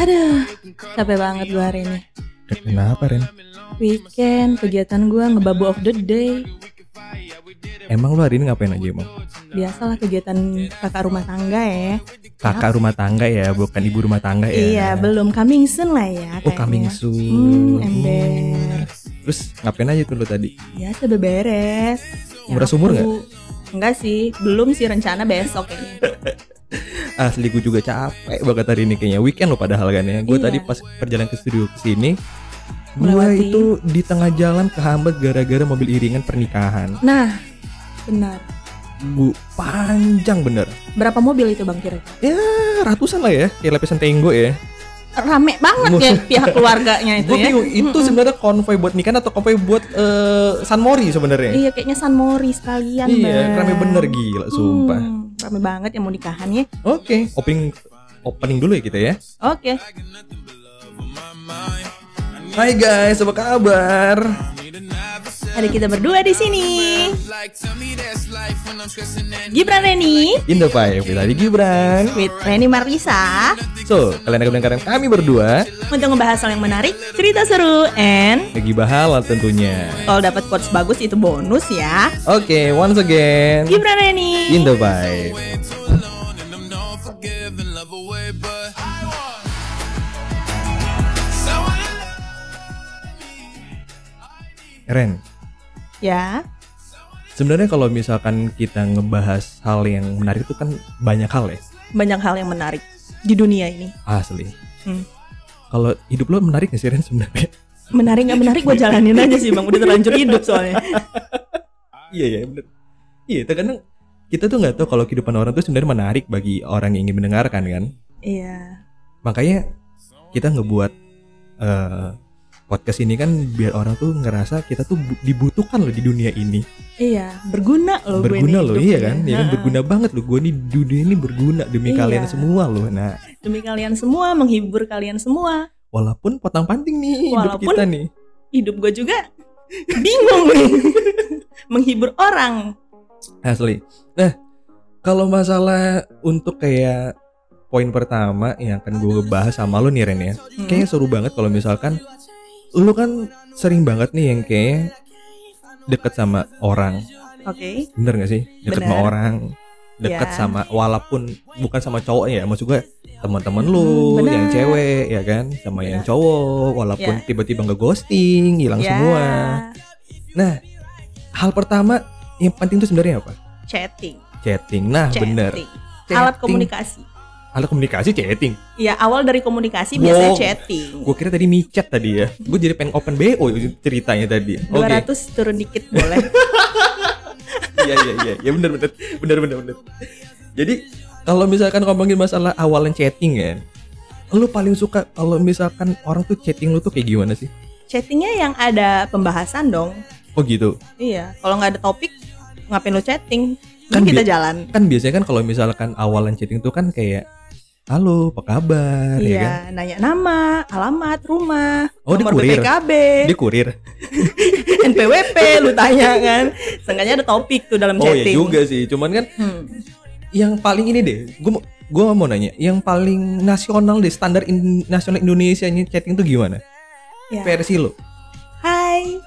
Aduh, capek banget gue hari ini. Eh, Kenapa Ren? Weekend, kegiatan gue ngebabu of the day. Emang lu hari ini ngapain aja emang? Biasalah kegiatan kakak rumah tangga ya. Kakak rumah tangga ya, bukan ibu rumah tangga ya? Iya, belum coming soon lah ya. Oh coming kayaknya. Hmm, soon. ember. Terus ngapain aja tuh lu tadi? Ya, coba beres. Umur sumur nggak? Nyapu. Enggak sih, belum sih rencana besok kayaknya. Asli gue juga capek banget hari ini kayaknya Weekend lo padahal kan ya Gue Iya. tadi pas perjalanan ke studio ke sini Gue Melewati. itu di tengah jalan kehambat gara-gara mobil iringan pernikahan Nah, benar. Bu, panjang bener Berapa mobil itu Bang kira Ya ratusan lah ya Kayak lapisan tenggo ya Rame banget ya pihak keluarganya itu Gue ya. bingung itu sebenarnya konvoy buat nikahan atau konvoy buat eh, San Mori sebenarnya Iya, kayaknya San Mori sekalian, Iya, Bang. rame bener gila sumpah Hmm, rame banget yang mau nikahan ya. Oke, opening opening dulu ya kita ya Oke. Hai guys, apa kabar? Ada kita berdua di sini. Gibran Reni Indah Five, tadi Gibran with Reni Marlisa So, kalian akan mendengarkan kami berdua untuk ngebahas hal yang menarik, cerita seru, and Ngegibah halal tentunya kalau dapat quotes bagus itu bonus ya. Oke, once again Gibran Reni. In the vibe Ren, Ya, sebenarnya kalau misalkan kita ngebahas hal yang menarik itu kan banyak hal ya banyak hal yang menarik di dunia ini. Asli Hmm. Kalau hidup lo menarik gak sih Ren sebenarnya? Menarik nggak menarik gue jalanin aja sih bang, udah terlanjur hidup soalnya. Iya ya bener. Iya terkadang kita tuh nggak tahu kalau kehidupan orang tuh sebenarnya menarik bagi orang yang ingin mendengarkan kan. Iya, Makanya kita ngebuat eh, podcast ini kan biar orang tuh ngerasa kita tuh bu- dibutuhkan loh di dunia ini. iya, berguna loh gue berguna ini loh hidup iya ya. kan? Ya kan Ha-ha. berguna banget loh. Gue nih di dunia ini berguna demi Iya. kalian semua loh. Nah Demi kalian semua, menghibur kalian semua. walaupun potang panting nih hidup Walaupun- kita nih. Hidup gue juga bingung nih. menghibur orang. Asli. Nah, kalau masalah untuk kayak poin pertama yang akan gue bahas sama lo nih Ren ya. Hmm. Kayaknya seru banget kalau misalkan lu kan sering banget nih yang kayak deket sama orang. Oke. Bener gak sih? Deket sama Bener. orang. Deket Ya. sama walaupun bukan sama cowok ya, maksud gue teman-teman Hmm, lu bener. yang cewek ya kan, sama yang Bener. cowok walaupun Ya. tiba-tiba ngeghosting, hilang Ya, semua. Nah, hal pertama yang penting tuh sebenarnya apa? Chatting. Chatting. Nah, chatting. bener. Alat Chatting. komunikasi. Alat komunikasi chatting. Ya awal dari komunikasi Wow. biasanya chatting. Gue kira tadi micet tadi ya. Gue jadi pengen open BO ceritanya tadi. Oke. 200 turun dikit boleh. Iya iya iya. Ya benar benar. Benar benar benar. Jadi kalau misalkan ngomongin masalah awalan chatting ya. Lu paling suka kalau misalkan orang tuh chatting lu tuh kayak gimana sih? Chattingnya yang ada pembahasan dong. Oh gitu. Iya. Kalau nggak ada topik, ngapain lo chatting? Kan Kan kita bi- jalan. Kan biasanya kan kalau misalkan awalan chatting tuh kan kayak Halo, apa kabar? Ya kan? Iya, nanya nama, alamat, rumah, Oh, di nomor kurir. BPKB, kan? Dia kurir. NPWP, lu tanya kan. Seenggaknya ada topik tuh dalam Oh ya chatting. juga sih. Cuman kan Hmm. yang paling ini deh, gue gue mau nanya, yang paling nasional deh, standar in- nasional Indonesia ini chatting tuh gimana? Ya. Versi lo? Hai.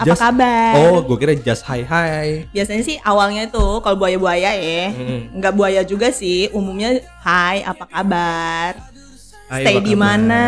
Apa Just- kabar? Oh, gue kira just hi hi. Biasanya sih awalnya itu kalau buaya-buaya ya. Hmm. Nggak buaya juga sih, umumnya hai, apa kabar? Hai, Stay apa di kabar? mana?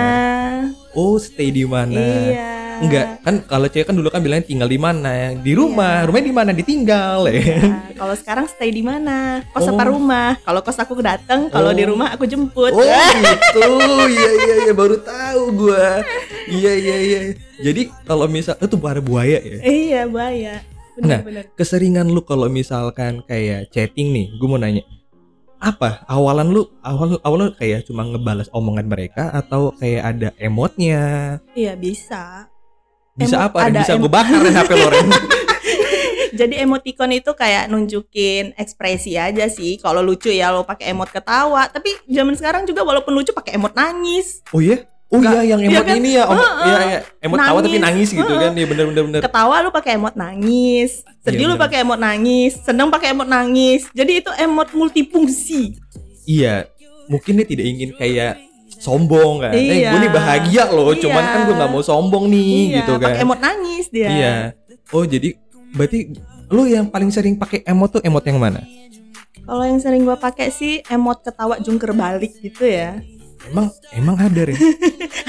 Oh, stay di mana? Iya. Enggak, kan kalau cewek kan dulu kan bilangnya tinggal di mana? Di Iya. rumah. Rumahnya di mana? Ditinggal ya. Nah, kalau sekarang stay di mana? Kos Oh. apa rumah? Kalau kos aku datang, kalau Oh. di rumah aku jemput. Oh gitu, iya iya iya baru tahu gua. Iya iya iya. Jadi kalau misal itu buaya buaya ya. Iya, bahaya. Nah. Benar-benar. keseringan lu kalau misalkan kayak chatting nih, gue mau nanya apa awalan lu awal awal lu kayak cuma ngebalas omongan mereka atau kayak ada emotnya Iya, bisa. bisa Emot- apa Ren? ada bisa emot. gue bakar Ren, HP lo Ren. Jadi emoticon itu kayak nunjukin ekspresi aja sih. Kalau lucu ya lo pakai emot ketawa, tapi zaman sekarang juga walaupun lucu pakai emot nangis. oh iya oh iya yang Iya emot kan? ini ya om, Heeh. iya, iya. emot tawa tapi Nangis. nangis gitu Heeh. kan ya bener bener bener Ketawa lo pakai emot nangis, sedih Iya, lo bener. pakai emot nangis, seneng pakai emot nangis. Jadi itu emot multifungsi. iya mungkin dia tidak ingin kayak sombong kan. Eh, gue Iya. nih bahagia loh, cuman Iya. kan gue nggak mau sombong nih Iya, gitu kan. pakai emot ya. nangis dia. Iya. Oh, jadi berarti lu yang paling sering pakai emot tuh emot yang mana? Kalau yang sering gua pakai sih emot ketawa jungker balik gitu ya. Emang emang ada ya?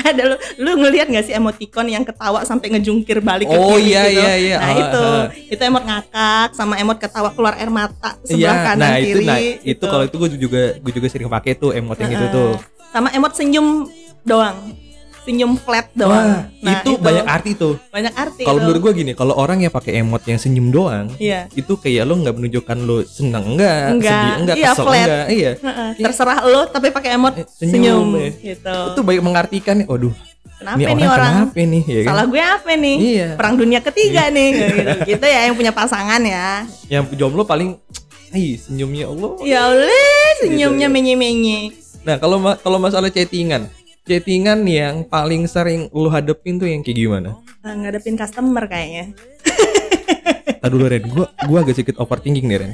Ada lu, lu ngelihat nggak sih emoticon yang ketawa sampai ngejungkir balik ke Oh, kiri iya, gitu? iya, iya. Nah Ah, itu ah. itu emot ngakak sama emot ketawa keluar air mata sebelah Iya, kanan nah kiri. itu nah itu gitu. kalau itu gue juga gue juga sering pakai tuh emot yang itu Heeh. tuh. Sama emot senyum doang. Senyum flat doang. Wah, Nah, itu, banyak arti tuh. banyak arti. Kalau itu. menurut gue gini, kalau orang yang pakai emot yang senyum doang, Iya. itu kayak lo nggak menunjukkan lo seneng enggak, Enggak. sedih enggak, Iya, kesel flat. enggak, iya. Heeh, terserah lo tapi pakai emot Eh, senyum, senyum, ya. gitu. Itu banyak mengartikan, waduh, Kenapa ini orang, kenapa nih, ya kan? Salah gue apa nih? Iya. Perang dunia ketiga nih gitu, gitu ya yang punya pasangan ya. Yang jomblo paling, hei senyumnya Allah. Ya oleh Gitu, senyumnya iya. menye-menye. Nah kalau ma- kalau masalah chattingan, chattingan yang paling sering lo hadepin tuh yang kayak gimana? Ah, ngadepin customer kayaknya. Tadi dulu Ren, gua gua agak sedikit overthinking nih Ren.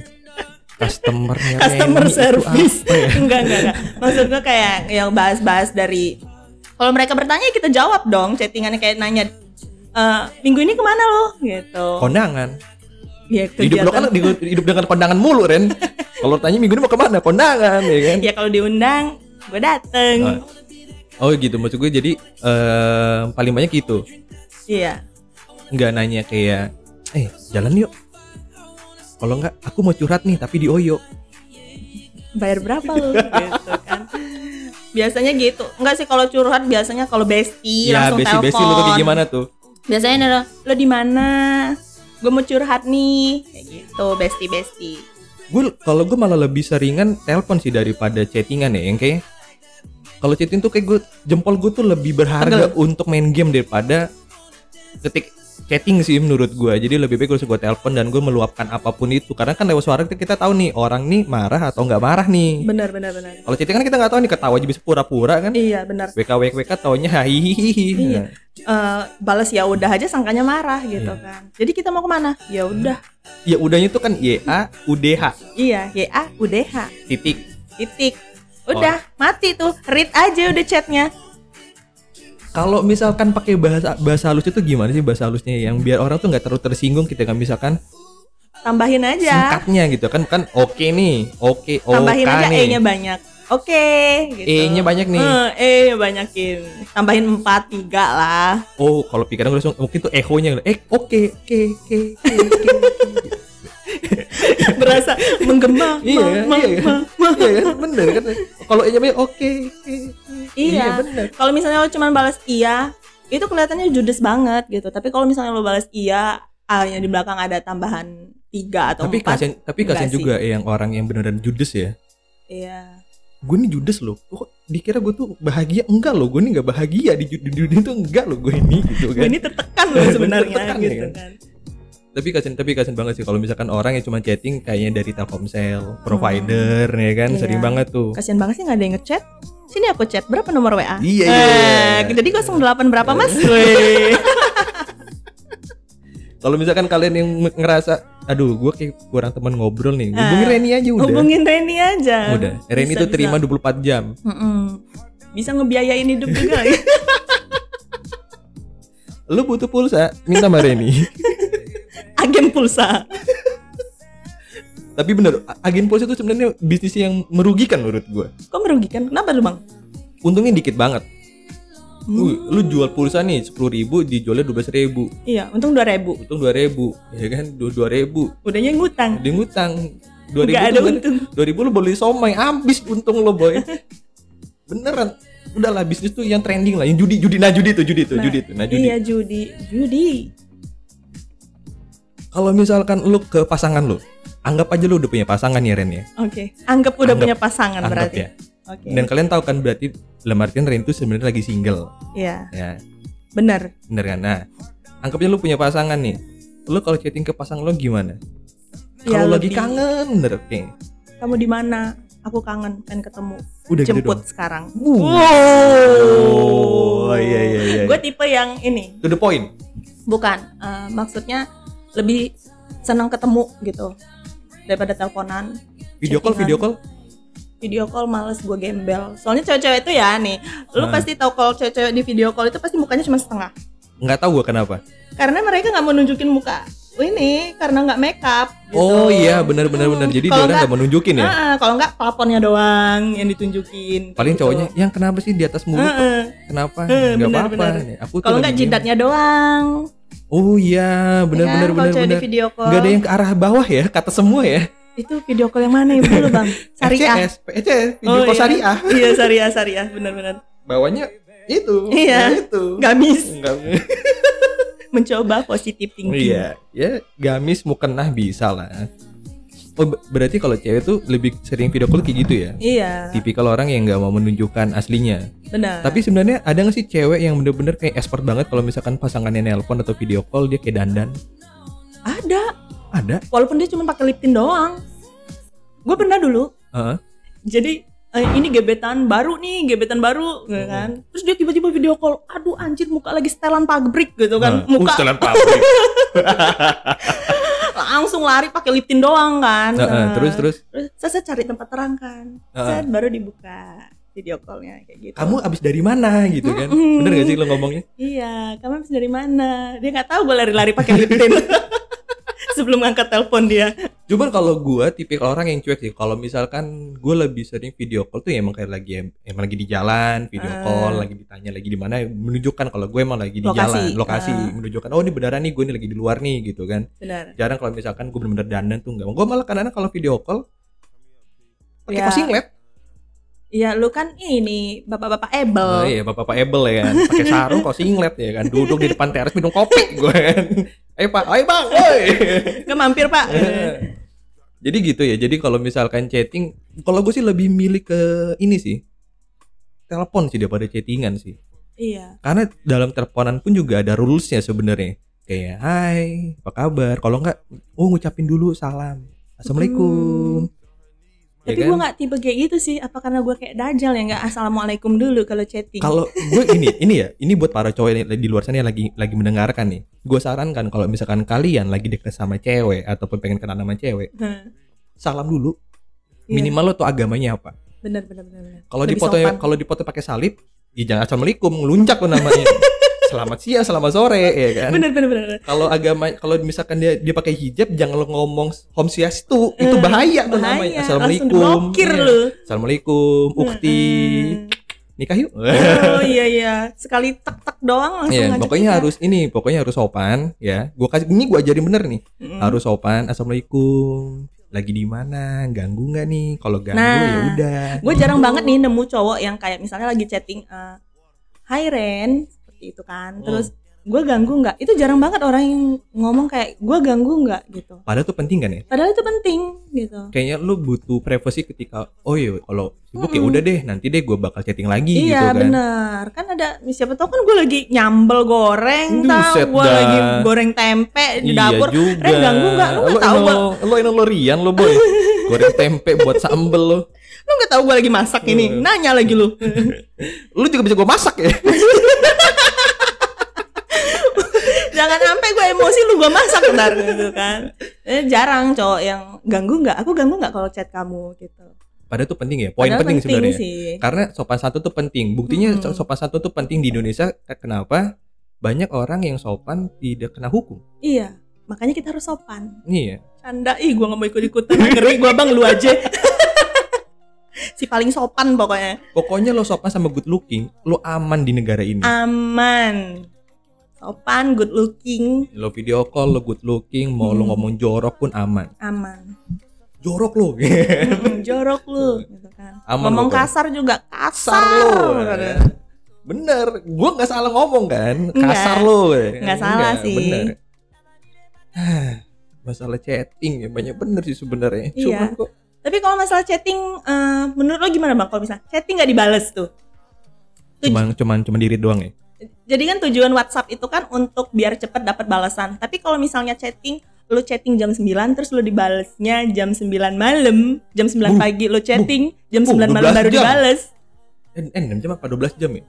Customernya Customer Reni itu service. apa ya? enggak, enggak, enggak. Maksud gue kayak yang bahas-bahas dari kalau mereka bertanya ya kita jawab dong chattingannya kayak nanya "Eh, minggu ini kemana lo gitu. Kondangan. ya Oh, Hidup lo kan kegiatan. di- hidup dengan kondangan mulu Ren. Kalau tanya minggu ini mau kemana? Kondangan, ya kan? Ya kalau diundang gue dateng. Oh gitu, maksud gue jadi eh, paling banyak gitu. Iya. Nggak nanya kayak, eh jalan yuk. Kalau nggak, aku mau curhat nih tapi di Oyo. bayar berapa lu gitu kan biasanya gitu enggak sih kalau curhat biasanya kalau besti Iya, ya langsung besi-besi lu tuh telepon kayak gimana tuh? biasanya ada, lo di mana gue mau curhat nih kayak gitu besti besti Gue kalau gue malah lebih seringan telepon sih daripada chattingan ya, yang kayak kalau chatting tuh kayak gue jempol gue tuh lebih berharga untuk main game daripada ketik chatting sih menurut gue. Jadi lebih baik gue langsung gue telepon dan gue meluapkan apapun itu karena kan lewat suara kita, kita tahu nih orang nih marah atau nggak marah nih. benar benar benar Kalau chatting kan kita nggak tahu nih ketawa aja bisa pura-pura kan. iya benar WK WK WK taunya hihihihi. Iya. Eh, balas ya udah aja sangkanya marah gitu kan jadi kita mau kemana ya udah Ya udahnya tuh kan Y A U D H iya ya ah, udh titik. titik udah mati tuh read aja udah chatnya Kalau misalkan pakai bahasa bahasa halus itu gimana sih bahasa halusnya yang biar orang tuh nggak terlalu tersinggung kita kan misalkan tambahin aja singkatnya gitu kan kan oke nih oke oke Iya. tambahin aja nih e-nya banyak oke gitu. E-nya banyak nih. Eh, E-nya banyakin tambahin empat tiga lah oh kalau pikiran gue langsung mungkin tuh echo-nya eh oke oke oke oke, oke. berasa menggema iya ma- ma- iya ma- ma. iya kan bener kan kalau e-nya banyak oke oke Iya. bener kalau misalnya lo cuman balas iya itu kelihatannya judes banget gitu tapi kalau misalnya lo balas iya ah, yang di belakang ada tambahan tiga atau tapi empat kasian tapi enggak kasian sih. juga yang orang yang beneran judes ya iya gue nih judes loh kok dikira gue tuh bahagia enggak loh gue nih nggak bahagia di ju- di dunia itu enggak loh gue ini gitu kan ini tertekan lo sebenarnya Tertekan, gitu ya kan? kan tapi kasian tapi kasian banget sih kalau misalkan orang yang cuma chatting kayaknya dari Telkomsel provider ya kan Iya. sering banget tuh kasian banget sih nggak ada yang ngechat sini aku chat berapa nomor wa Iya, Eh, iya. jadi 08 berapa mas Weh. kalau misalkan kalian yang me- ngerasa aduh gue kayak kurang teman ngobrol nih hubungi Ah. Reni aja udah hubungin Reni aja udah Reni Bisa, tuh bisa. terima 24 jam Mm-mm. bisa ngebiayain hidup juga ya lu butuh pulsa minta sama Reni agen pulsa tapi bener a- agen pulsa itu sebenarnya bisnis yang merugikan menurut gue kok merugikan kenapa lu bang untungnya dikit banget Hmm. Wih, lu jual pulsa nih 10.000 ribu dijualnya 12.000 ribu iya untung dua ribu untung 2.000 ribu ya kan dua dua ribu udahnya ngutang dia ngutang dua ribu nggak ada untung 2000 lu beli somai habis untung lo boy beneran udahlah bisnis tuh yang trending lah yang judi judi nah judi tuh judi tuh Nah, judi tuh nah judi iya judi judi kalau misalkan lu ke pasangan lu anggap aja lu udah punya pasangan ya Ren ya oke anggap udah Anggap- punya pasangan anggap berarti ya oke dan kalian tahu kan berarti dalam artian Ren itu sebenarnya lagi single iya ya benar bener kan nah anggapnya lu punya pasangan nih lu kalau chatting ke pasangan lu gimana Ya, kalau lagi lebih- kangen bener oke kamu di mana aku kangen pengen ketemu udah gitu jemput doang sekarang Wuh. Wow. oh iya iya iya gue tipe yang ini to the point Bukan, eh, maksudnya lebih senang ketemu gitu daripada teleponan. video call Chattingan. video call video call males gue gembel soalnya cewek-cewek itu ya nih lu Ah. pasti tahu kalau cewek-cewek di video call itu pasti mukanya cuma setengah nggak tahu gua kenapa karena mereka nggak mau nunjukin muka ini karena nggak make up gitu. oh iya benar benar benar jadi dia Kalau orang nggak mau nunjukin ya Ah, ah, kalau nggak plafonnya doang yang ditunjukin paling gitu. cowoknya gitu yang kenapa sih di atas mulut Ah, ah. kenapa eh, nggak benar, apa-apa benar. nih, aku tuh kalau lagi nggak diem. jidatnya doang oh iya benar ya kan? benar benar kalau cewek di benar video call nggak ada yang ke arah bawah ya kata semua ya itu video call yang mana ya dulu bang syariah PCS PCS video Oh, call iya. syariah iya syariah syariah benar-benar bawahnya itu Iya. nah itu gamis Nggak- mencoba positif thinking iya ya gamis mukena bisa lah oh be- berarti kalau cewek tuh lebih sering video call kayak gitu ya Iya, tipikal orang yang nggak mau menunjukkan aslinya benar. tapi sebenarnya ada nggak sih cewek yang bener-bener kayak expert banget kalau misalkan pasangannya nelpon atau video call dia kayak dandan ada, ada walaupun dia cuma pakai lip tint doang. Gue pernah dulu. Heeh. Jadi eh, ini gebetan baru nih, gebetan baru, Hmm. ya kan? Terus dia tiba-tiba video call, aduh anjir muka lagi setelan pabrik gitu kan, Nah, muka uh, setelan pabrik. langsung lari pakai lip tint doang kan. Nah, eh, Nah, terus terus terus saya, saya cari tempat terang kan, Heeh. Set, baru dibuka video callnya kayak gitu. kamu abis dari mana gitu kan Mm-mm. bener gak sih lo ngomongnya Iya, kamu habis dari mana? Dia nggak tahu gue lari-lari pakai lip tint. Sebelum angkat telepon dia. cuman kalau gua tipikal orang yang cuek sih kalau misalkan gua lebih sering video call tuh ya emang kayak lagi emang lagi di jalan video Ah. call lagi ditanya lagi di mana menunjukkan kalau gue emang lagi di Lokasi. jalan lokasi Ah. menunjukkan oh ini beneran nih gue ini lagi di luar nih gitu kan Benar. jarang kalau misalkan gue bener-bener dandan tuh enggak gue malah kadang-kadang kalau video call pakai Iya. kosing lab Iya, lu kan ini bapak-bapak ebel. Oh iya bapak-bapak Ebel ya kan pakai sarung kok singlet ya kan duduk di depan teras minum kopi gue kan ayo pak ayo bang woi iya. Nggak Kan mampir pak. jadi gitu ya jadi kalau misalkan chatting kalau gue sih lebih milih ke ini sih telepon sih daripada chattingan sih iya. karena dalam teleponan pun juga ada rulesnya sebenarnya kayak hai apa kabar kalau enggak oh ngucapin dulu salam assalamualaikum Ya Tapi kan? gua nggak tipe kayak gitu sih. Apa karena gua kayak dajal ya nggak assalamualaikum dulu kalau chatting. Kalau gue ini, ini ya, ini buat para cowok yang di luar sana yang lagi lagi mendengarkan nih. Gue sarankan kalau misalkan kalian lagi deket sama cewek ataupun pengen kenal sama cewek, Hah, salam dulu. Iya. Minimal lo tuh agamanya apa? benar benar benar. benar. Kalau Lebih dipoto sopan. kalau dipoto pakai salib, ya jangan assalamualaikum, ngelunjak lo namanya. selamat siang, selamat sore, ya kan? Benar benar benar. benar. Kalau agama, kalau misalkan dia dia pakai hijab, jangan lo ngomong hom siastu, itu bahaya Hmm, kan tuh namanya. Bahaya. Langsung Assalamualaikum. diblokir Iya. lu. Hmm. Assalamualaikum, ukti, nikah yuk. Heeh. Oh iya iya. Sekali tek tek doang langsung ya. Iya, ngajak pokoknya nikah. harus ini, pokoknya harus sopan ya. Gua kasih ini gua ajarin bener nih. Mm-mm. Harus sopan. Assalamualaikum. Lagi di mana? Ganggu nggak nih? Kalau ganggu Nah, ya udah. gue jarang banget nih nemu cowok yang kayak misalnya lagi chatting eh, Hai Ren seperti itu Hmm. kan terus gue ganggu nggak itu jarang banget orang yang ngomong kayak gue ganggu nggak gitu Padahal tuh penting kan ya? padahal itu penting gitu Kayaknya lu butuh privacy ketika oh iya kalau sibuk ya Mm-mm. udah deh, nanti deh gua bakal chatting lagi Hmm. gitu iya kan. benar kan ada siapa tau kan gue lagi nyambel goreng Duh, tau set gue dah. lagi goreng tempe di Iya dapur Eh, juga. Ren ganggu nggak? Lu nggak Lo tahu enak lo, lo enak lo Rian lo boy. Goreng tempe buat sambel lo. lu nggak tahu gue lagi masak ini Hmm. nanya lagi lu Lu juga bisa gua masak ya. jangan sampai gue emosi lu gue masak ntar gitu kan Eh, jarang cowok yang ganggu nggak aku ganggu nggak kalau chat kamu gitu Padahal tuh penting ya. Poin Padahal penting sebenarnya. sih. Hmm. karena sopan satu tuh penting buktinya Mm-mm. sopan satu tuh penting di Indonesia Eh, kenapa banyak orang yang sopan tidak kena hukum Iya, makanya kita harus sopan. iya Canda, ih gua nggak mau ikut ikutan. Ngeri gua bang, lu aja. si paling sopan pokoknya. pokoknya lo sopan sama good looking lo aman di negara ini Aman, sopan, good looking, lo video call lo good looking mau lo Mm. ngomong jorok pun aman aman. jorok lo Mm, jorok lu, gitu kan. Aman Ngomong pokoknya. kasar juga kasar kasar. gitu kan. lo kan? Bener. bener gua nggak salah ngomong kan Nggak. kasar lo kan? Nggak salah sih. bener Hah, masalah chatting ya banyak bener sih sebenarnya Iya. cuman kok Tapi kalau masalah chatting, eh, menurut lo gimana bang? Kalau misalnya chatting nggak dibales tuh? Tuj- cuman cuman cuman diri doang ya Jadi kan tujuan WhatsApp itu kan untuk biar cepet dapat balasan. Tapi kalau misalnya chatting, lu chatting jam 9 terus lu dibalesnya jam 9 malam, jam 9 Buh, pagi lu chatting, jam buh, 9 malam 12 baru uh, jam. dibales. eh, eh 6 jam apa 12 jam ya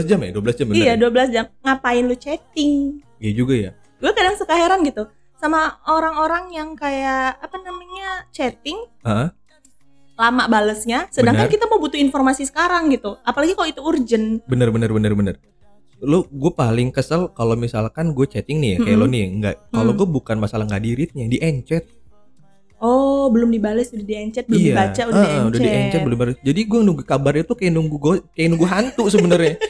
12 jam ya 12 jam bener Iya, ya? 12 jam. Ngapain lu chatting? Iya juga ya. Gue kadang suka heran gitu sama orang-orang yang kayak apa namanya chatting Heeh. eh lama balesnya sedangkan Benar. kita mau butuh informasi sekarang gitu apalagi kalau itu urgent bener bener bener bener lu gue paling kesel kalau misalkan gue chatting nih ya kayak lo nih nggak Mm. kalau gue bukan masalah nggak di readnya di encet oh belum dibales udah diencet belum dibaca udah Ah, diencet udah di encet belum baru- jadi gue nunggu kabar itu kayak nunggu gue kayak nunggu hantu sebenarnya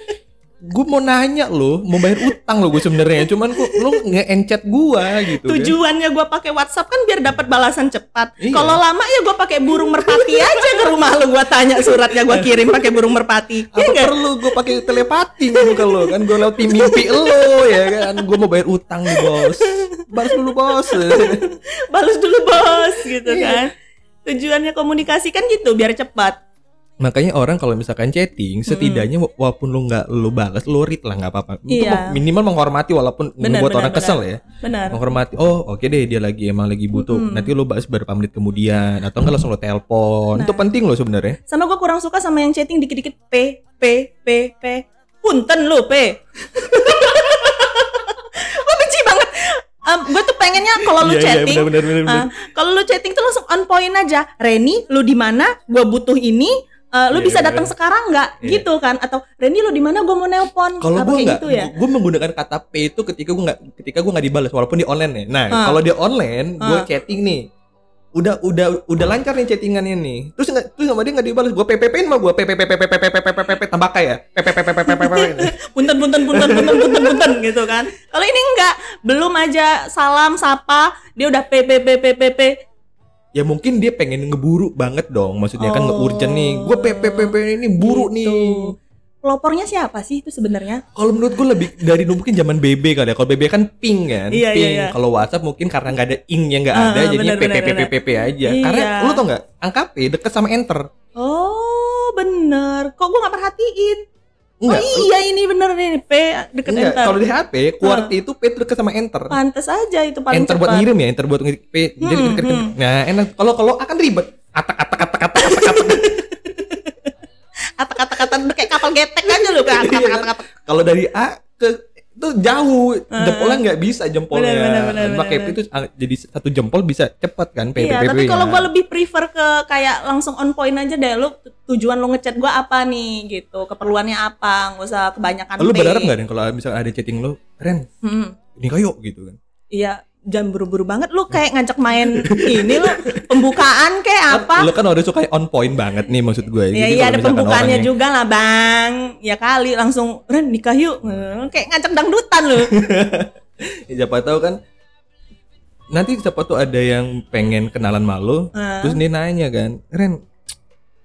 gue mau nanya lo mau bayar utang lo gue sebenarnya cuman kok lo nge encet gue gitu kan. tujuannya gue pakai WhatsApp kan biar dapat balasan cepat. Iya. Kalau lama ya gue pakai burung merpati aja ke rumah lu gue tanya suratnya gue kirim pakai burung merpati. Iya kan? apa nggak? perlu gue pakai telepati gitu ke lo kan gue lewat mimpi lo ya kan gue mau bayar utang nih bos balas dulu bos Balas dulu bos gitu Iya. kan. Tujuannya komunikasi kan gitu biar cepat. makanya orang kalau misalkan chatting Hmm. setidaknya wa- walaupun lo nggak lo balas lo read lah nggak apa-apa Itu Iya. minimal menghormati walaupun Benar, membuat benar, orang kesel ya Benar. menghormati oh oke deh dia lagi emang lagi butuh nanti lo bahas beberapa menit kemudian atau enggak langsung lo telepon itu penting lo sebenarnya Sama gue kurang suka sama yang chatting dikit-dikit p p p p. Punten lu p. gue benci banget. gue tuh pengennya kalau Iya, lu chatting benar benar Ah, kalau lu chatting tuh langsung on point aja. Reni, lu di mana? Gua butuh ini. Eh, lu Iya, bisa iya. datang sekarang nggak? Iya. Gitu kan? Atau Reni, lu di mana? Gua mau nelpon. kalau Apa gue kayak nggak gitu ya. gue menggunakan kata p itu ketika gue nggak ketika gue nggak dibalas walaupun di online ya nah Ah. kalau di online gue Ah. chatting nih udah udah udah lancar nih chattingannya nih terus nggak terus sama dia nggak dibalas gue pppin mah gue ppppppppppp tambah ya ppppppp Punten, punten, punten, punten, punten, punten gitu kan? Kalau ini enggak, belum aja salam sapa, dia udah p p p p p p. ya mungkin dia pengen ngeburu banget dong maksudnya Oh. kan nggak urgent nih gue ppppp ini buru Gitu. nih Pelopornya siapa sih itu sebenarnya? Kalau menurut gue lebih dari dulu mungkin zaman BB kali ya. Kalau BB kan ping kan, Iya, ping. iya, iya. Kalau WhatsApp mungkin karena nggak ada ing yang nggak Ah, ada, benar, jadinya benar, PPPPPP aja. Iya. Karena lu tau nggak, angka P deket sama enter. Oh, bener. Kok gua nggak perhatiin? Enggak. Oh iya ini bener nih p deket Enggak, enter. kalau di HP QWERTY itu P itu deket sama enter. Pantes aja itu paling enter cepat. buat ngirim ya, enter buat ngirim P. Jadi Hmm, deket -deket. Nah, enak kalau kalau akan ribet. Atak atak atak atak atak atak. kata kata kata kayak kapal getek aja lu Iya, kan kata kata kata kalau dari A ke itu jauh jempolnya nggak bisa jempolnya Ah. Benar, benar, benar, pakai P benar. itu ah, jadi satu jempol bisa cepet kan P P, iya P, P, tapi ya. kalau gua lebih prefer ke kayak langsung on point aja deh lu tu- tujuan lu ngechat gua apa nih gitu keperluannya apa nggak usah kebanyakan lu P. berharap nggak Ren kalau misalnya ada chatting lu Ren Hmm, nikah yuk gitu kan iya jangan buru-buru banget lu kayak ngajak main ini lu pembukaan kayak apa lu kan udah suka on point banget nih maksud Iya gue Jadi iya ada kalau misalkan pembukaannya orang yang- juga lah bang Ya kali langsung Ren nikah yuk Eh, Kayak ngajak dangdutan lu Ya, siapa tahu kan nanti siapa tuh ada yang pengen kenalan malu Eh. terus dia nanya kan Ren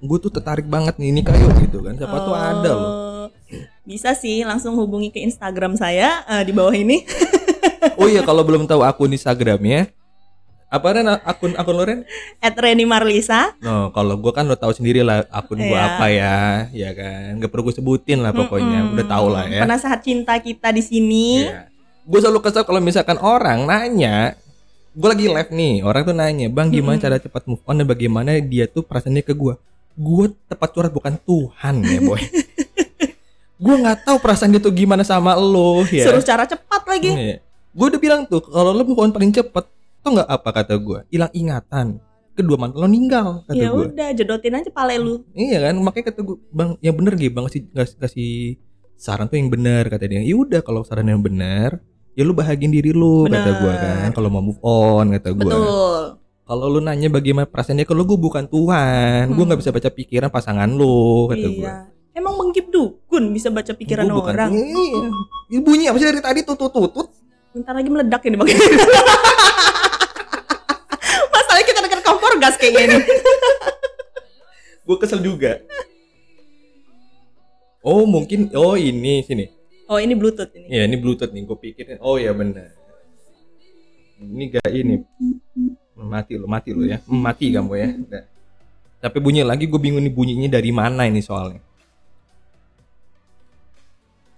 gue tuh tertarik banget nih nikah yuk gitu kan siapa tuh ada loh Eh, Bisa sih langsung hubungi ke Instagram saya eh, di bawah ini oh iya kalau belum tahu akun Instagramnya apa Ren akun akun lo Ren at Reni Marlisa. No, kalau gua kan lo tahu sendiri lah akun gua Iya. apa ya, ya kan. Gak perlu gue sebutin lah pokoknya, udah tau lah ya. Penasehat cinta kita di sini. Gue Iya. selalu kesel kalau misalkan orang nanya, gue lagi live nih, orang tuh nanya, bang gimana cara cepat move on dan bagaimana dia tuh perasaannya ke gue. Gue tepat curhat bukan Tuhan ya boy. gue nggak tahu perasaan dia tuh gimana sama lo ya. Suruh cara cepat lagi. Iya. Gue udah bilang tuh kalau lo move on paling cepet, tau nggak apa kata gue? Hilang ingatan. Kedua mantan lo ninggal kata ya gue. udah jodotin aja pale lu. Iya kan, makanya kata gue, bang, yang bener gitu, bang kasih ngas- kasih saran tuh yang bener kata dia. Ya udah kalau saran yang bener, ya lu bahagiin diri lu kata Bener. gue kan. Kalau mau move on kata gue. Betul. Kalau lu nanya bagaimana perasaannya, kalau gue bukan Tuhan, gue Hmm. nggak bisa baca pikiran pasangan lu kata gue. Iya. Emang menggip dukun bisa baca pikiran Gua bukan- orang. Iya. Ini bunyi apa sih dari tadi tutut tutut? Bentar lagi meledak ini bang. Masalahnya kita dekat kompor gas kayaknya ini. Gue kesel juga. Oh mungkin, oh ini sini. Oh ini bluetooth ini. Ya ini bluetooth nih, gue pikirin. Oh ya benar. Ini gak ini. Mati lo, mati lo ya. Hmm, Mati kamu ya. Udah. Tapi bunyi lagi gue bingung nih bunyinya dari mana ini soalnya.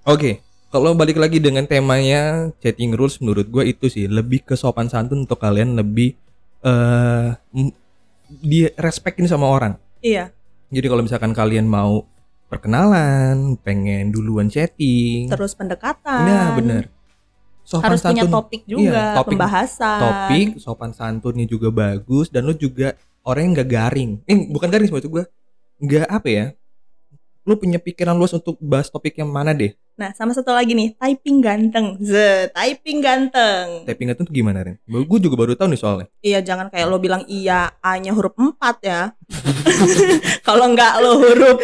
Oke, kalau balik lagi dengan temanya chatting rules menurut gue itu sih lebih ke sopan santun untuk kalian lebih eh m- di respectin sama orang. Iya. Jadi kalau misalkan kalian mau perkenalan, pengen duluan chatting, Iya, Terus pendekatan. Nah bener Sopan Harus punya topik juga, Iya, topik- pembahasan. Topik, sopan santunnya juga bagus dan lu juga orang yang nggak garing eh bukan garing sih itu gue nggak apa ya lu punya pikiran luas untuk bahas topik yang mana deh Nah, sama satu lagi nih, typing ganteng. Z, typing ganteng. typing itu gimana Ren? Gue juga baru tahu nih soalnya. Iya, jangan kayak lo bilang iya, A-nya huruf 4 ya. Kalau enggak lo huruf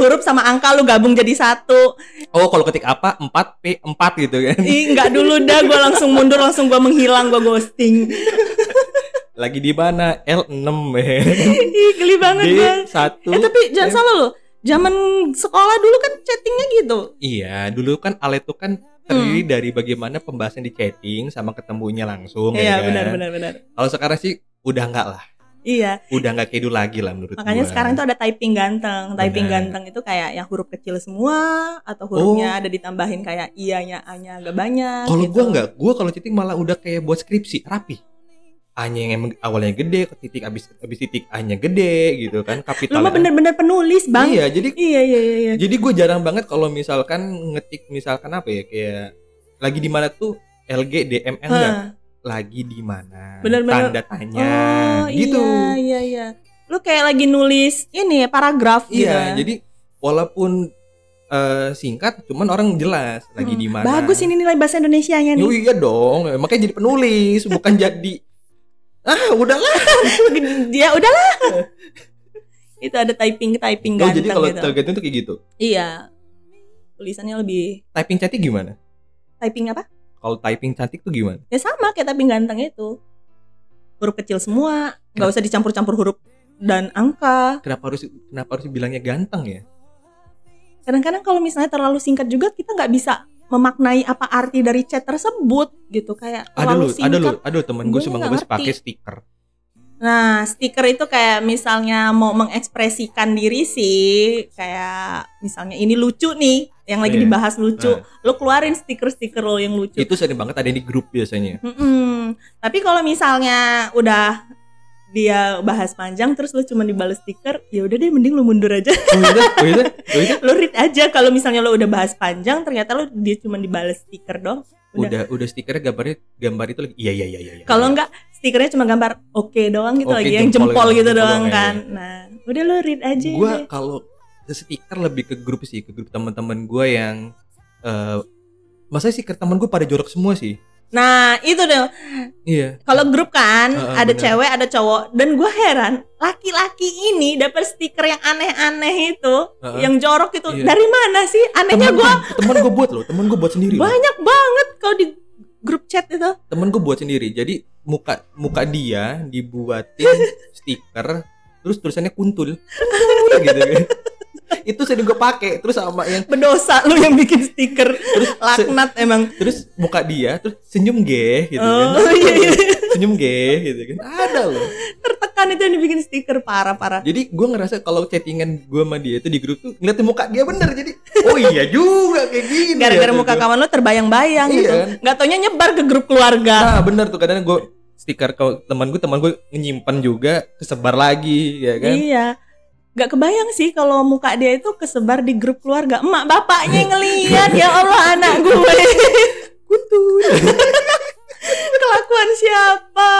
huruf sama angka lo gabung jadi satu. Oh kalau ketik apa 4 P 4 gitu kan? Ih, enggak dulu dah gue langsung mundur, langsung gue menghilang, gue ghosting. Lagi di mana L 6 eh. Ih, geli banget D gue. satu. Eh, tapi jangan salah lo. Zaman sekolah dulu kan chattingnya gitu. Iya dulu kan Ale itu kan terdiri Hmm. dari bagaimana pembahasan di chatting sama ketemunya langsung. Iya, ya kan? benar benar benar. Kalau sekarang sih udah nggak lah, Iya, udah nggak kayak dulu lagi lah menurut makanya gua. sekarang tuh ada typing ganteng. Typing Benar. ganteng itu kayak yang huruf kecil semua atau hurufnya ada ditambahin kayak iya-nya A-nya agak banyak Oh. Kalau gitu. gua nggak, gua kalau titik malah udah kayak buat skripsi rapi. A-nya yang emang awalnya gede, titik abis abis titik A-nya gede gitu kan Lu kapital. mah bener-bener penulis, Bang. Iya, jadi Iya iya iya. iya. Jadi gue jarang banget kalau misalkan ngetik misalkan apa ya kayak lagi di mana tuh LG DMN enggak? Hah. Lagi di mana? Bener-bener. Tanda tanya Oh gitu. iya iya iya. Lu kayak lagi nulis ini paragraf gitu. Iya, ya. jadi walaupun eh, singkat cuman orang jelas lagi Hmm. di mana. Bagus ini nilai bahasa Indonesianya Oh nih. iya dong, makanya jadi penulis bukan jadi ah udahlah. Dia udahlah. itu ada typing typing Oh, ganteng jadi kalau gitu. targetnya tuh kayak gitu. Iya. Tulisannya lebih Typing cantik gimana? typing apa? Kalau typing cantik tuh gimana? Ya sama kayak typing ganteng itu. Huruf kecil semua, Hmm. nggak usah dicampur-campur huruf dan angka. Kenapa harus kenapa harus bilangnya ganteng ya? Kadang-kadang kalau misalnya terlalu singkat juga kita nggak bisa memaknai apa arti dari chat tersebut gitu kayak Ada terlalu loh, ada singkat. loh, ada loh temen gue Guanya cuma nggak ngebahas ngerti. pakai stiker. Nah, stiker itu kayak misalnya mau mengekspresikan diri sih, kayak misalnya ini lucu nih, yang lagi Iya. dibahas lucu, lo keluarin stiker-stiker lo yang lucu. itu sering banget ada di grup biasanya Mm-mm. Tapi kalau misalnya udah dia bahas panjang terus lo cuma dibales stiker, ya udah deh mending lo mundur aja, oh iya oh iya oh iya lo read aja. Kalau misalnya lo udah bahas panjang, ternyata lo dia cuma dibales stiker dong. udah udah stikernya gambarnya gambar itu lagi iya iya iya iya iya. Kalau enggak stikernya cuma gambar oke doang gitu Oke, lagi, yang jempol jempol, gitu, gitu jempol doang doang ya, kan. Nah, udah lo read aja. gua deh. kalau stiker lebih ke grup sih ke grup teman-teman gua yang eh masa sih ke teman gue pada jorok semua sih Nah, itu deh iya kalau grup kan Heeh, ada bener. cewek ada cowok dan gue heran laki-laki ini dapat stiker yang aneh-aneh itu Heeh. yang jorok itu Iya. dari mana sih anehnya temen gue temen gue buat loh temen gue buat sendiri loh. banyak banget kalau di grup chat itu temen gue buat sendiri jadi muka muka dia dibuatin stiker terus tulisannya kuntul Kuntul gitu kan. itu sering gue pakai terus sama yang berdosa lu yang bikin stiker terus se- laknat emang terus muka dia terus senyum ge gitu oh kan iya, iya. senyum ge gitu kan ada loh tertekan itu yang dibikin stiker parah parah jadi gue ngerasa kalau chattingan gue sama dia itu di grup tuh ngeliatin muka dia bener jadi oh iya juga kayak gini gara-gara ya, muka tuh. kawan lu terbayang-bayang Iya. gitu nggak taunya nyebar ke grup keluarga nah bener tuh kadang gue stiker ke teman gue teman gue nyimpan juga kesebar lagi ya kan iya Gak kebayang sih kalau muka dia itu kesebar di grup keluarga Emak bapaknya yang ngeliat Ya Allah anak gue kuntul kelakuan siapa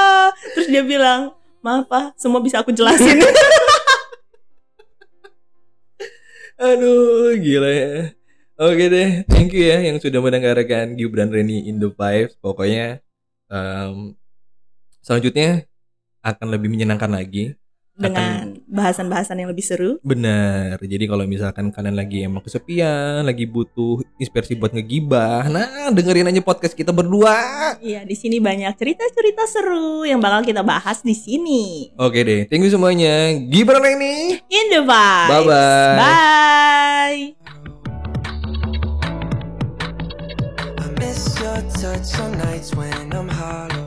terus dia bilang maaf pak semua bisa aku jelasin aduh gila ya Oke deh, thank you ya yang sudah mendengarkan Gibran Reni Indo Vibes. Pokoknya em, selanjutnya akan lebih menyenangkan lagi. dengan bahasan-bahasan yang lebih seru Benar. Jadi kalau misalkan kalian lagi emang kesepian, lagi butuh inspirasi buat ngegibah, nah dengerin aja podcast kita berdua. iya di sini banyak cerita-cerita seru yang bakal kita bahas di sini Oke deh, thank you semuanya. Gibran ini. in the vibes Bye-bye. bye I miss your touch on nights when I'm hollow.